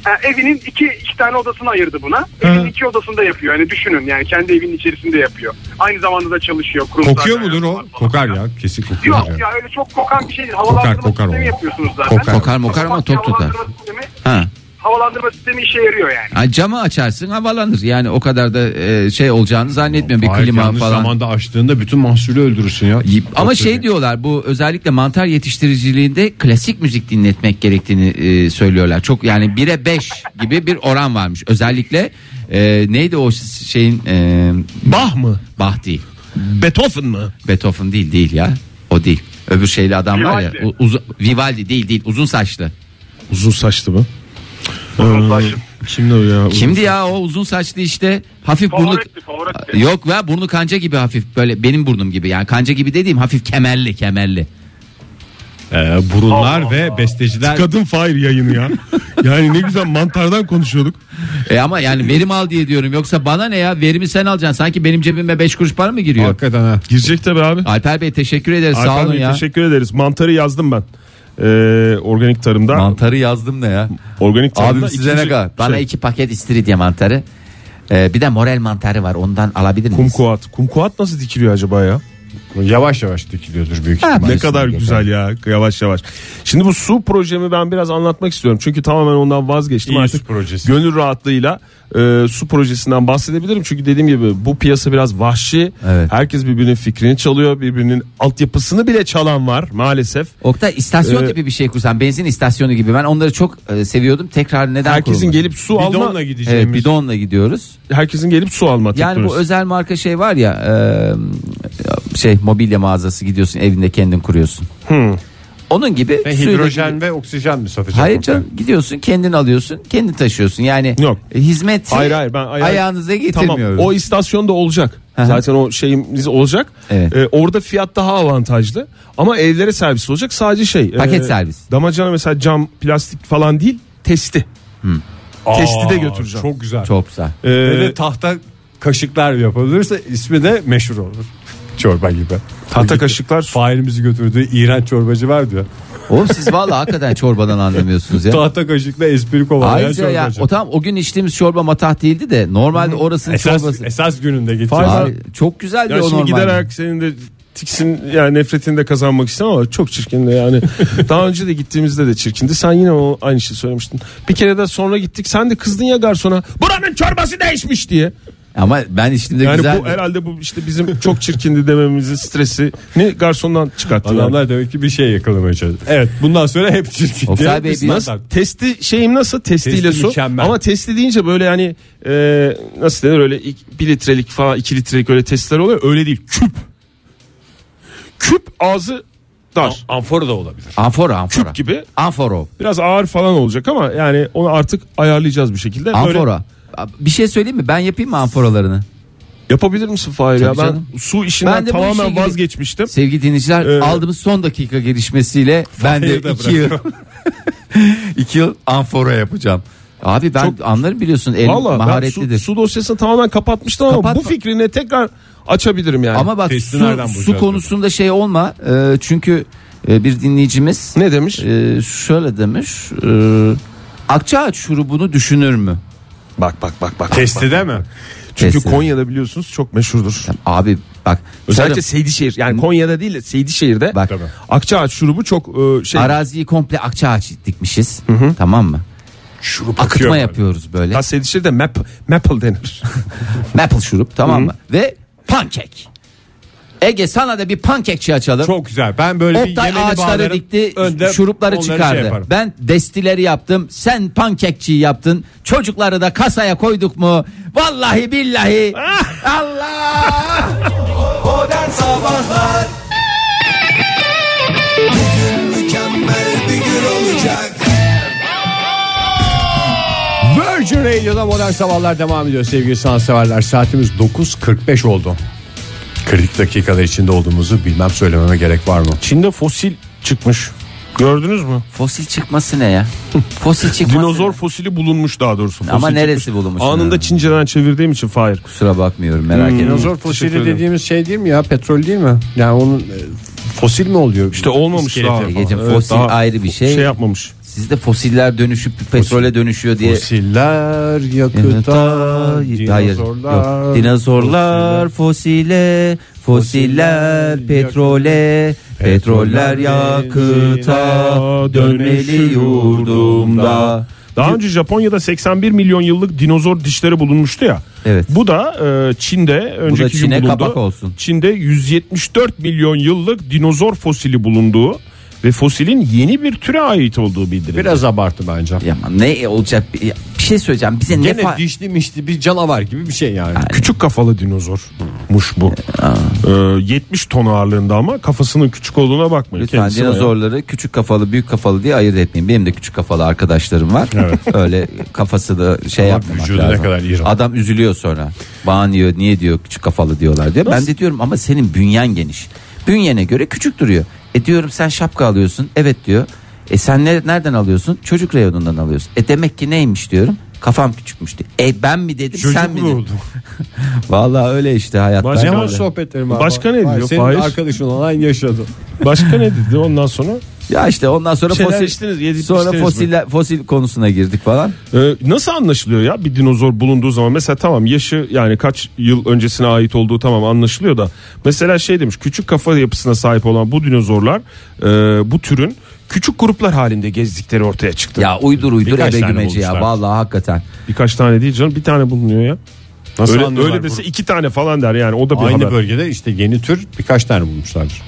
G: e, evinin iki, iki tane odasını ayırdı buna. Evin iki odasında yapıyor. Yani düşünün yani kendi evinin içerisinde yapıyor. Aynı zamanda da çalışıyor. kurumsal
A: Kokuyor
G: hayatı
A: mudur o?
G: var falan.
A: Kokar ya. Kesin kokuyor.
G: Yok ya öyle çok kokan bir şey değil. Havalandırma
A: kokar
G: sistemi
A: o.
G: yapıyorsunuz zaten.
A: Kokar.
C: Kokar mokar ama tok tutar.
G: Havalandırma sistemi,
C: Ha.
G: havalandırma sistemi işe yarıyor yani.
C: Ha, camı açarsın havalanır. Yani o kadar da e, şey olacağını zannetmiyorum bir
A: Hayır,
C: klima
A: yanlış
C: falan.
A: zamanda açtığında bütün mahsulü öldürürsün ya.
C: Y- Ama
A: Çok
C: şey
A: kötü.
C: diyorlar bu özellikle mantar yetiştiriciliğinde klasik müzik dinletmek gerektiğini e, söylüyorlar. Çok yani 1'e 5 gibi bir oran varmış. Özellikle e, neydi o ş- şeyin e,
B: Bah mı?
C: Bach değil.
B: Beethoven mı?
C: Beethoven değil değil ya. O değil. Öbür şeyli adam var ya.
G: Vivaldi.
C: u- uzu- Vivaldi değil değil uzun saçlı.
B: Uzun saçlı mı?
G: saçlı.
B: Ee, Kimdi o ya?
C: Kimdi ya o uzun saçlı işte hafif burnu
G: Favoretti, favoretti.
C: Yok ya burnu kanca gibi hafif böyle benim burnum gibi yani kanca gibi dediğim hafif kemerli kemerli.
A: Ee, burunlar ve besteciler
B: Kadın Fahir yayını ya. yani ne güzel mantardan konuşuyorduk.
C: E ama yani verim al diye diyorum yoksa bana ne ya verimi sen alacaksın sanki benim cebime 5 kuruş para mı giriyor?
A: hakikaten ha.
B: Girecek tabii abi.
C: Alper Bey teşekkür ederiz sağ
B: Alper
C: olun
B: Bey,
C: ya.
B: teşekkür ederiz. Mantarı yazdım ben. Ee, organik tarımda.
C: Mantarı yazdım ne ya?
B: organik tarımda.
C: Abim size ne
B: ikinci
C: kadar? Bana
B: şey,
C: iki paket istiridye mantarı. Ee, bir de morel mantarı var ondan alabilir miyiz?
B: Kumkuat. Kumkuat nasıl dikiliyor acaba ya?
A: Yavaş yavaş dikiliyordur büyük
C: Ha,
A: ihtimalle.
B: Ne kadar
C: Kesinlikle.
B: güzel ya yavaş yavaş. Şimdi bu su projemi ben biraz anlatmak istiyorum. Çünkü tamamen ondan vazgeçtim
A: İyi
B: artık.
A: su projesi.
B: Gönül rahatlığıyla e, su projesinden bahsedebilirim. Çünkü dediğim gibi bu piyasa biraz vahşi.
C: Evet.
B: Herkes birbirinin fikrini çalıyor. Birbirinin altyapısını bile çalan var maalesef.
C: Oktay istasyon
B: Ee,
C: gibi bir şey kursan benzin istasyonu gibi ben onları çok e, seviyordum tekrar neden
B: Herkesin
C: kurulmadı?
B: gelip su alma
A: Bidonla gideceğimiz.
C: Evet, bidonla gidiyoruz.
B: herkesin gelip su alma
C: Yani bu
B: teknolojisi.
C: özel marka şey var ya e, şey mobilya mağazası gidiyorsun evinde kendin kuruyorsun.
B: Hmm.
C: Onun gibi
A: Ve
C: suyla
A: hidrojen
C: gidip-
A: ve oksijen mi satacak?
C: Hayır
A: orada?
C: canım gidiyorsun kendin alıyorsun kendin taşıyorsun yani
B: Yok.
C: hizmet şey
B: Hayır, hayır, ben ayağı-
C: ayağınıza
B: Tamam
C: getirmiyorum.
B: o istasyonda olacak.
C: hı.
B: Zaten o şeyimiz olacak.
C: Evet.
B: Ee, orada fiyat daha avantajlı ama evlere servis olacak. Sadece şey.
C: Paket servis.
B: Damacana mesela cam, plastik falan değil, testi. Testi de götüreceğim.
A: Çok güzel.
C: Çok güzel.
B: Ee,
A: Böyle tahta kaşıklar yapılırsa ismi de meşhur olur. Çorba gibi.
B: tahta kaşıklar su-
A: Failimizi götürdüğü iğrenç çorbacı vardı ya.
C: Oğlum siz vallahi hakikaten çorbadan anlamıyorsunuz ya.
A: Tahta kaşıkla espri kovalayan
C: Ayrıca ya
A: çorbacı.
C: o tam o gün içtiğimiz çorba matah değildi de normalde orasının
A: esas,
C: çorbası.
A: esas gününde gitti.
C: Ay, çok güzeldi
B: Ya
C: o
B: şimdi
C: normalde.
B: giderek senin de tiksin yani nefretini de kazanmak istemem ama çok çirkindi yani. Daha önce de gittiğimizde de çirkindi. Sen yine o aynı şeyi söylemiştin. Bir kere de sonra gittik. Sen de kızdın ya garsona. Buranın çorbası değişmiş diye.
C: Ama ben içtiğimde
B: Yani
C: güzeldi.
B: bu herhalde bu işte bizim çok çirkindi dememizin stresini garsondan çıkarttı. yani.
A: Adamlar demek ki bir şey yakalamaya çalışıyor. Evet bundan sonra hep çirkin.
C: Oktay Bey,
A: diye bir
C: biz-
A: standart.
B: Nasıl? Testi şeyim nasıl? Testiyle
A: Testi
B: su.
A: mükemmel.
B: Ama testi deyince böyle hani e, nasıl denir öyle 1 litrelik falan 2 litrelik öyle testler oluyor. Öyle değil. Küp. Küp ağzı dar.
A: Amfora da olabilir.
C: Amfora amfora.
B: Küp gibi.
C: Amforo.
B: Biraz ağır falan olacak ama yani onu artık ayarlayacağız bir şekilde. Böyle-
C: Amfora. Bir şey söyleyeyim mi? Ben yapayım mı amforalarını?
B: yapabilir misin Fahir ya?
C: Tabii
B: Ben
C: canım.
B: su işinden
C: Ben de bu işe
B: tamamen
C: gireyim.
B: vazgeçmiştim.
C: Sevgili dinleyiciler
B: Ee,
C: aldığımız son dakika gelişmesiyle ben de
A: Hayır da
C: iki yıl iki yıl amfora yapacağım. Abi ben
B: Çok-
C: anlarım biliyorsun el
B: Valla ben su,
C: maharetlidir.
B: su dosyasını tamamen kapatmıştım ama
C: Kapatma.
B: bu fikrini tekrar açabilirim yani.
C: Ama bak
A: Testi
C: su,
A: nereden
C: su
A: bulacağız
C: konusunda şey olma Ee, çünkü e, bir dinleyicimiz
B: ne demiş?
C: e, şöyle demiş e, Akçaağaç şurubunu düşünür mü?
B: Bak bak bak bak.
A: Testi de mi?
B: Çünkü
C: Testi.
B: Konya'da biliyorsunuz çok meşhurdur.
C: Abi bak
B: Özellikle
C: tarım-
B: Seydişehir yani Konya'da değil de Seydişehir'de
C: Bak.
B: Akçaağaç şurubu çok e, şey
C: araziyi komple akçaağaç dikmişiz. Tamam mı?
A: şurup
C: akıtma
A: akıyor.
C: yapıyoruz böyle.
B: Tas edişir de map, maple denir.
C: Maple şurup tamam mı? Ve pankek. Ege sana da bir pankekçi açalım.
A: Çok güzel. Ben böyle bir
C: Oktay
A: yemeni
C: ağaçları
A: bağlarım.
C: dikti
A: Önde
C: şurupları
A: onları şey
C: çıkardı.
A: yaparım.
C: ben destileri yaptım. Sen pankekçiyi yaptın. Çocukları da kasaya koyduk mu? Vallahi billahi.
A: Ah!
C: Allah.
E: Mükemmel bir gün olacak.
A: Virgin Radio'da modern sabahlar devam ediyor sevgili sanatseverler. Saatimiz 9.45 oldu. 40 dakikada içinde olduğumuzu bilmem söylememe gerek var mı?
B: Çin'de fosil çıkmış. Gördünüz mü?
C: Fosil çıkması ne ya? Fosil çıkması.
B: Dinozor
C: ne?
B: fosili bulunmuş daha doğrusu.
C: Ama
B: Fosil
C: neresi
B: çıkmış.
C: bulunmuş
B: Anında
C: yani?
B: Çince'den çevirdiğim için Fahir.
C: Kusura bakmıyorum merak etme.
A: Hmm. Dinozor
B: Hmm, teşekkür
A: fosili
B: ederim.
A: dediğimiz şey değil mi ya? Petrol değil mi? Yani onun e, fosil mi oluyor?
B: İşte olmamış
A: İskeleti.
B: daha.
C: Egeciğim, fosil ayrı bir şey.
B: Şey yapmamış.
C: Sizde fosiller dönüşüp petrole dönüşüyor diye.
A: Fosiller yakıta
C: Hayır, hayır,
A: dinozorlar.
C: yok. Dinozorlar fosile, fosiller petrole, petroller yakıta dönmeli yurdumda.
B: Daha önce Japonya'da 81 milyon yıllık dinozor dişleri bulunmuştu ya.
C: Evet.
B: Bu da e, Çin'de önceki gün
C: Çin'e
B: bulundu.
C: kapak olsun.
B: Çin'de 174 milyon yıllık dinozor fosili bulunduğu ve fosilin yeni bir türe ait olduğu bildirildi.
A: Biraz abartı bence.
C: Ya ama ne olacak bir ya bir şey söyleyeceğim bize ne
A: Gene
C: fa-
A: dişli mişli bir canavar gibi bir şey yani.
B: Küçük kafalı dinozormuş bu. Ee, 70 ton ağırlığında ama kafasının küçük olduğuna bakmayın.
C: Lütfen
B: Kendisi
C: dinozorları küçük kafalı büyük kafalı diye ayırt etmeyin. Benim de küçük kafalı arkadaşlarım var. Öyle kafası da şey
A: Ama
C: yapmamak
A: vücudu ne
C: lazım.
A: kadar iğrenç.
C: Adam üzülüyor sonra. Bana diyor niye diyor küçük kafalı diyorlar diyor. Ben de diyorum ama senin bünyen geniş. Bünyene göre küçük duruyor. E diyorum sen şapka alıyorsun. Evet diyor. E sen ne- nereden alıyorsun? Çocuk reyonundan alıyorsun. E demek ki neymiş diyorum. Kafam küçükmüş diyor. E ben mi dedim
A: Çocuk
C: sen mi
A: mu
C: dedin?
A: oldu?
C: Vallahi öyle işte hayat.
B: Başka-
C: Ben
A: Cemal
C: böyle.
A: sohbetlerim abi.
B: Başka ne
A: Vay,
B: diyor?
A: Senin
B: Faiz?
A: arkadaşın olan yaşadı.
B: ya. Başka ne dedi ondan sonra?
C: Ya işte ondan sonra
B: Şeyler
C: fosil
B: içtiniz, yedik,
C: sonra
B: içtiniz mi?
C: fosiller, fosil konusuna girdik falan.
B: Ee, nasıl anlaşılıyor ya bir dinozor bulunduğu zaman mesela tamam yaşı yani kaç yıl öncesine ait olduğu tamam anlaşılıyor da mesela şey demiş küçük kafa yapısına sahip olan bu dinozorlar e, bu türün küçük gruplar halinde gezdikleri ortaya çıktı.
C: Ya uydur uydur
A: Birkaç
C: ebe
A: tane
C: gümeci ya
A: bulmuşlar.
C: vallahi hakikaten.
B: Birkaç tane değil canım bir tane bulunuyor ya.
A: Nasıl
B: öyle,
A: anlıyorlar
B: öyle dese
A: bunu?
B: iki tane falan der yani o da bir
A: Aynı
B: haber.
A: bölgede işte yeni tür birkaç tane bulmuşlardır.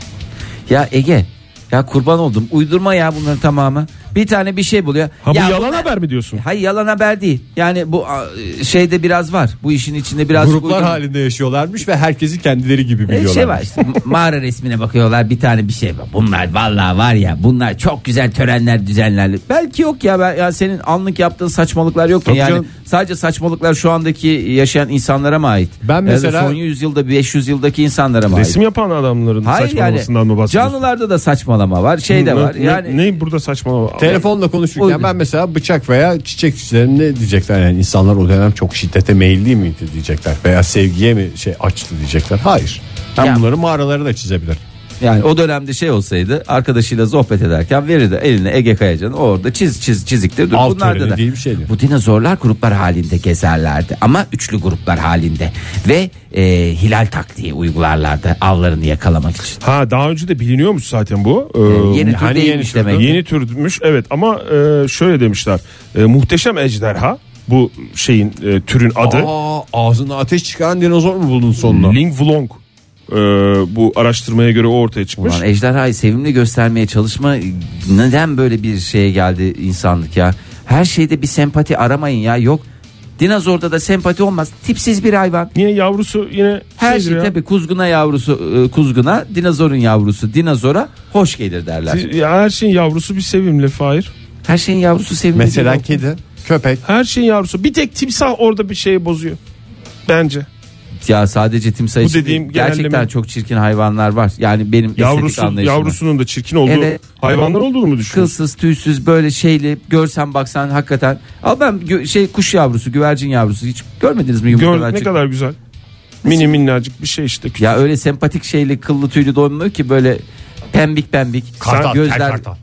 C: Ya Ege ya kurban oldum uydurma ya bunların tamamı. Bir tane bir şey buluyor.
B: Ha bu
C: ya
B: yalan
C: bunlar-
B: haber mi diyorsun?
C: Hayır yalan haber değil. Yani bu a, şeyde biraz var. Bu işin içinde biraz
A: Gruplar
C: uydurma-
A: halinde yaşıyorlarmış ve herkesi kendileri gibi
C: E,
A: biliyorlar.
C: Şey var işte, ma- mağara resmine bakıyorlar bir tane bir şey var. Bunlar vallahi var ya bunlar çok güzel törenler düzenlerler. Belki yok ya, ben, ya senin anlık yaptığın saçmalıklar yok mu?
A: Tabii
C: Yani
A: canım.
C: sadece saçmalıklar şu andaki yaşayan insanlara mı ait?
A: Ben
C: Ya da
A: mesela-
C: son 100 yılda 500 yıldaki insanlara mı ait?
B: Resim yapan adamların
C: Hayır
B: saçmalamasından
C: yani
B: mı bahsediyorsun?
C: canlılarda da saçmalama var şey de
B: Ne-
C: var
B: ne-
C: yani
B: ne, burada saçmalama?
A: Telefonla konuşurken
C: Uygun.
A: ben mesela bıçak veya çiçek işlerini ne diyecekler yani insanlar o dönem çok şiddete meyilli miydi diyecekler veya sevgiye mi şey açtı diyecekler. Hayır. Ben
C: Ya.
A: bunları mağaralara da çizebilir.
C: yani o dönemde şey olseydı arkadaşıyla sohbet ederken verirdi eline Ege Kayacan'ı orada çiz çiz çiziktir dur
A: Av
C: bunlarda
A: töreni
C: da
A: değil bir şey şeydi.
C: bu dinozorlar gruplar halinde gezerlerdi ama üçlü gruplar halinde ve e, hilal taktiği uygularlardı avlarını yakalamak için.
B: Ha daha önce de biliniyormuş zaten bu. Ee,
C: yeni tür
A: hani yeni
C: değilmiş
A: türdü?
C: demek.
B: Yeni türmüş evet ama e, şöyle demişler. E, muhteşem ejderha bu şeyin e, türün adı.
A: Aa, ağzına ateş çıkaran dinozor mu buldun sonunda?
B: Ling Vlong. E, bu araştırmaya göre o ortaya çıkmış.
C: Ulan e- ejderhayı sevimli göstermeye çalışma neden böyle bir şeye geldi insanlık ya? Her şeyde bir sempati aramayın ya yok. Dinozorda da sempati olmaz. Tipsiz bir hayvan.
B: Niye yavrusu yine
C: Her
B: şeydir
C: şey
B: ya.
C: tabii kuzguna yavrusu e, kuzguna, dinozorun yavrusu dinozora hoş gelir derler.
B: Siz- ya her şeyin yavrusu bir sevimli Fahir.
C: Her şeyin yavrusu sevimli.
A: Mesela
C: değil mi?
A: kedi, köpek.
B: Her şeyin yavrusu. Bir tek timsah orada bir şeyi bozuyor. Bence.
C: ya sadece timsah
B: Bu
C: için
B: dediğim
C: değil, gerçekten
B: genelleme-
C: çok çirkin hayvanlar var. Yani benim estetik
B: Yavrusu,
C: anlayışıma.
B: yavrusunun da çirkin olduğu
C: Evet.
B: hayvanlar olduğunu mu düşünüyorsun?
C: Kılsız tüysüz böyle şeyli görsen baksan hakikaten. Al ben gö- şey kuş yavrusu güvercin yavrusu hiç görmediniz mi yumurtadan
B: Gördük ne
C: çıkan?
B: kadar güzel. Mini minnacık bir şey işte.
C: Ya öyle sempatik şeyli kıllı tüylü donmuyor ki böyle pembik pembik.
A: Kartal, tel kartal.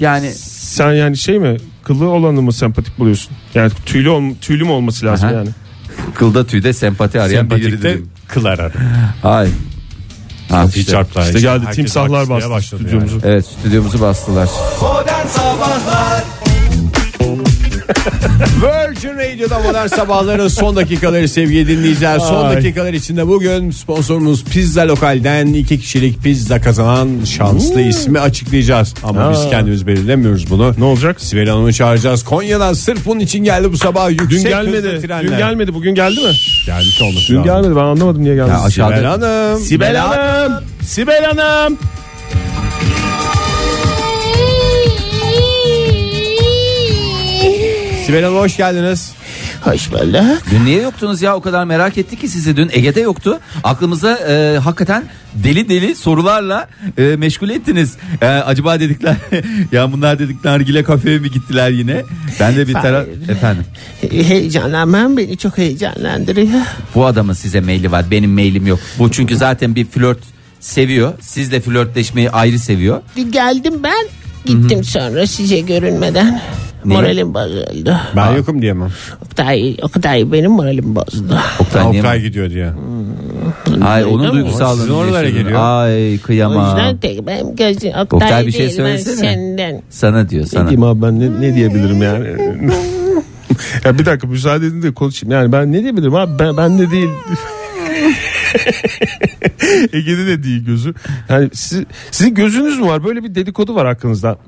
C: Yani
B: Sen yani şey mi kıllı olanı mı sempatik buluyorsun? Yani tüylü, ol, tüylü mü olması lazım
C: Aha.
B: yani?
C: kılda tüyde sempati arayan biri
A: Sempatikte
C: dedim.
A: kıl arar.
C: Ay. Ha, işte.
A: çarplar.
B: İşte geldi
A: herkes
B: timsahlar
A: alkışlamaya
B: bastı
A: başladı
B: stüdyomuzu.
C: Evet stüdyomuzu bastılar.
A: Virgin Radio'da modern sabahların son dakikaları sevgili dinleyiciler. Son
B: Ay.
A: dakikalar içinde bugün sponsorumuz Pizza Lokal'den iki kişilik pizza kazanan şanslı ismi açıklayacağız. Ama biz kendimiz belirlemiyoruz bunu.
B: Ne olacak?
A: Sibel Hanım'ı çağıracağız. Konya'dan sırf bunun için geldi bu sabah yüksek
B: Dün
A: hızlı
B: gelmedi.
A: trenler.
B: Dün gelmedi. Bugün geldi mi?
A: Gelmiş olması
B: Dün
A: lazım.
B: gelmedi. Ben anlamadım niye geldi.
C: Ya aşağı-
A: Sibel Hanım.
B: Sibel Hanım. Sibel Hanım.
A: Sibel Hanım hoş geldiniz.
C: Dün niye yoktunuz ya o kadar merak ettik ki sizi dün Ege'de yoktu. Aklımıza e, hakikaten deli deli sorularla e, meşgul ettiniz. E, acaba dedikler ya bunlar dedik nargile kafeye mi gittiler yine? Ben de bir taraf efendim
H: Heyecanlanmam beni çok heyecanlandırıyor.
C: bu adamın size maili var benim mailim yok. Bu çünkü zaten bir flört seviyor. Sizle flörtleşmeyi ayrı seviyor.
H: Bir geldim ben gittim sonra size görünmeden. Moralim bozuldu.
A: Ben yokum diyemem.
H: Oktay, Oktay benim moralim bozdu.
C: Oktay, niye-
A: Oktay gidiyor diye.
C: Hani Ay onun
H: Duydum.
C: duygusallığını
A: Sizin oralara
C: yaşıyorum.
A: geliyor.
C: Ay
H: O
C: kıyamam.
H: yüzden tek benim gözüm Oktay,
C: Oktay bir şey
H: değil, ben
C: söylesene.
H: senden.
C: Sana diyor
B: Ne
C: sana.
B: diyeyim abi ben ne, ne diyebilirim yani? ya bir dakika müsaade edin de konuşayım. Yani ben ne diyebilirim abi ben, ben de değil. Ege'de de değil gözü. Yani siz, sizin gözünüz mü var? Böyle bir dedikodu var hakkınızda.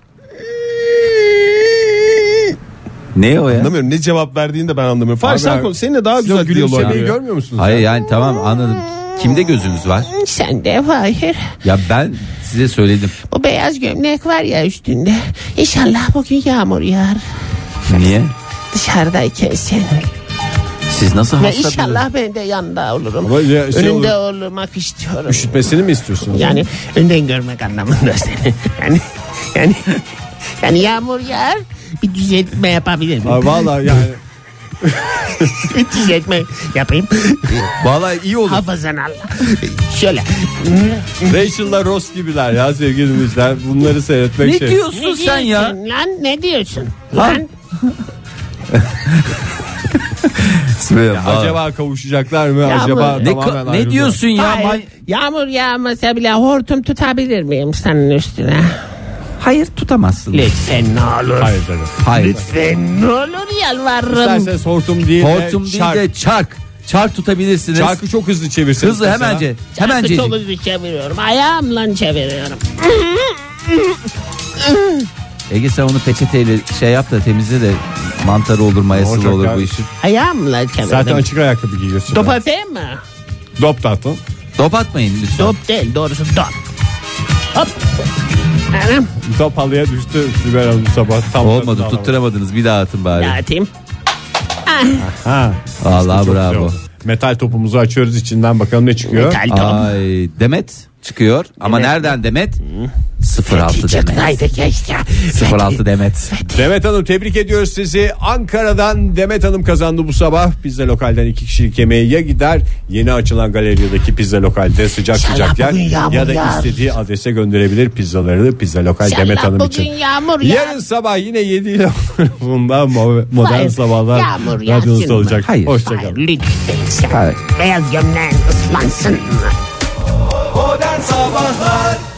C: Ne o ya?
B: Anlamıyorum ne cevap verdiğini de ben anlamıyorum. Fahri sen
A: abi,
B: konuş. Seninle daha
A: Siz o
B: güzel diyalog
A: gülümsemeyi
B: yapıyor.
A: görmüyor musunuz?
C: Hayır yani tamam anladım. Kimde gözünüz var?
H: Sen de hayır.
C: Ya ben size söyledim.
H: O beyaz gömlek var ya üstünde. İnşallah bugün yağmur yağar.
C: Niye?
H: Dışarıdayken sen.
C: Siz nasıl
H: Ve
C: hasta bir-
H: inşallah ben de yanında olurum.
A: Ama ya şey
H: Önünde olmak istiyorum.
A: Üşütmesini mi istiyorsunuz?
H: Yani önden görmek anlamında seni. Yani yani yani yağmur yağar bir düzeltme yapabilirim.
A: Ay vallahi yani
H: Bir düzeltme yapayım.
C: Vallahi iyi olur.
H: Hafızan al. Şöyle.
A: Rachel'la Ross gibiler ya sevgili dinleyiciler. Bunları seyretmek
C: Ne
A: şey.
C: diyorsun sen ya?
H: diyorsun Lan ne diyorsun?
C: Lan.
H: Lan
C: Ya
A: Acaba kavuşacaklar mı?
H: Ya
A: acaba
C: ne,
H: bu-
A: tamamen
C: ka- ne
A: ayrıldılar.
C: diyorsun ya?
H: Hayır,
C: May-
H: yağmur yağmasa bile hortum tutabilir miyim senin üstüne?
C: Hayır tutamazsın.
H: Lütfen ne olur.
A: Hayır tabii.
C: Hayır.
H: Lütfen ne olur yalvarırım.
A: İsterseniz hortum değil
C: Hortum
A: de
C: değil
A: şark.
C: de çark. Çark tutabilirsiniz.
A: Çarkı çok hızlı çevirseniz.
C: Hızlı
A: mesela.
C: hemence. Hemencecik.
H: Çok hızlı çeviriyorum. Ayağımla çeviriyorum.
C: Ege sen onu peçeteyle şey yap da temizle de mantarı olur mayasılı
A: Olacak
C: olur
A: ya.
C: bu işin.
H: Ayağımla çeviriyorum.
A: Zaten açık ayakkabı giyiyorsun.
H: Top atayım mı?
A: Dop tatlım.
C: Top atmayın lütfen.
H: Top değil doğrusu dop. Hop. Anam.
A: Dop halıya düştü Sibel Hanım sabah. Tam
C: Olmadı
A: tadını alamadı.
C: tutturamadınız bir daha atın bari.
H: Dağıtayım.
A: Ha.
C: Vallahi
A: Çok güzel
C: bravo.
A: oldu. Metal topumuzu açıyoruz içinden bakalım ne çıkıyor.
H: Metal top.
C: Ay Demet çıkıyor ama nereden Demet? 06 Demet.
H: Çıktaydı keşke.
C: 06 Demet.
A: Demet Hanım tebrik ediyoruz sizi. Ankara'dan Demet Hanım kazandı bu sabah. Pizza lokalden iki kişilik yemeğe ya gider yeni açılan galerideki pizza lokalde sıcak
H: İnşallah
A: sıcak yer
H: bugün yağmur
A: ya da
H: yağar.
A: istediği adrese gönderebilir pizzaları pizza lokal
H: İnşallah
A: Demet Hanım
H: bugün
A: için.
H: yağmur yağar.
A: Yarın sabah yine 7 ile bundan mo- modern
H: Hayır,
A: sabahlar
H: yağmur yağsın
A: radyonuzda
H: mı?
A: olacak.
C: Hayır.
H: Hayır,
A: Hoşçakalın.
H: lütfen sen.
C: Hayır.
H: Beyaz gömleğin ıslansın mı?
E: Modern Sabahlar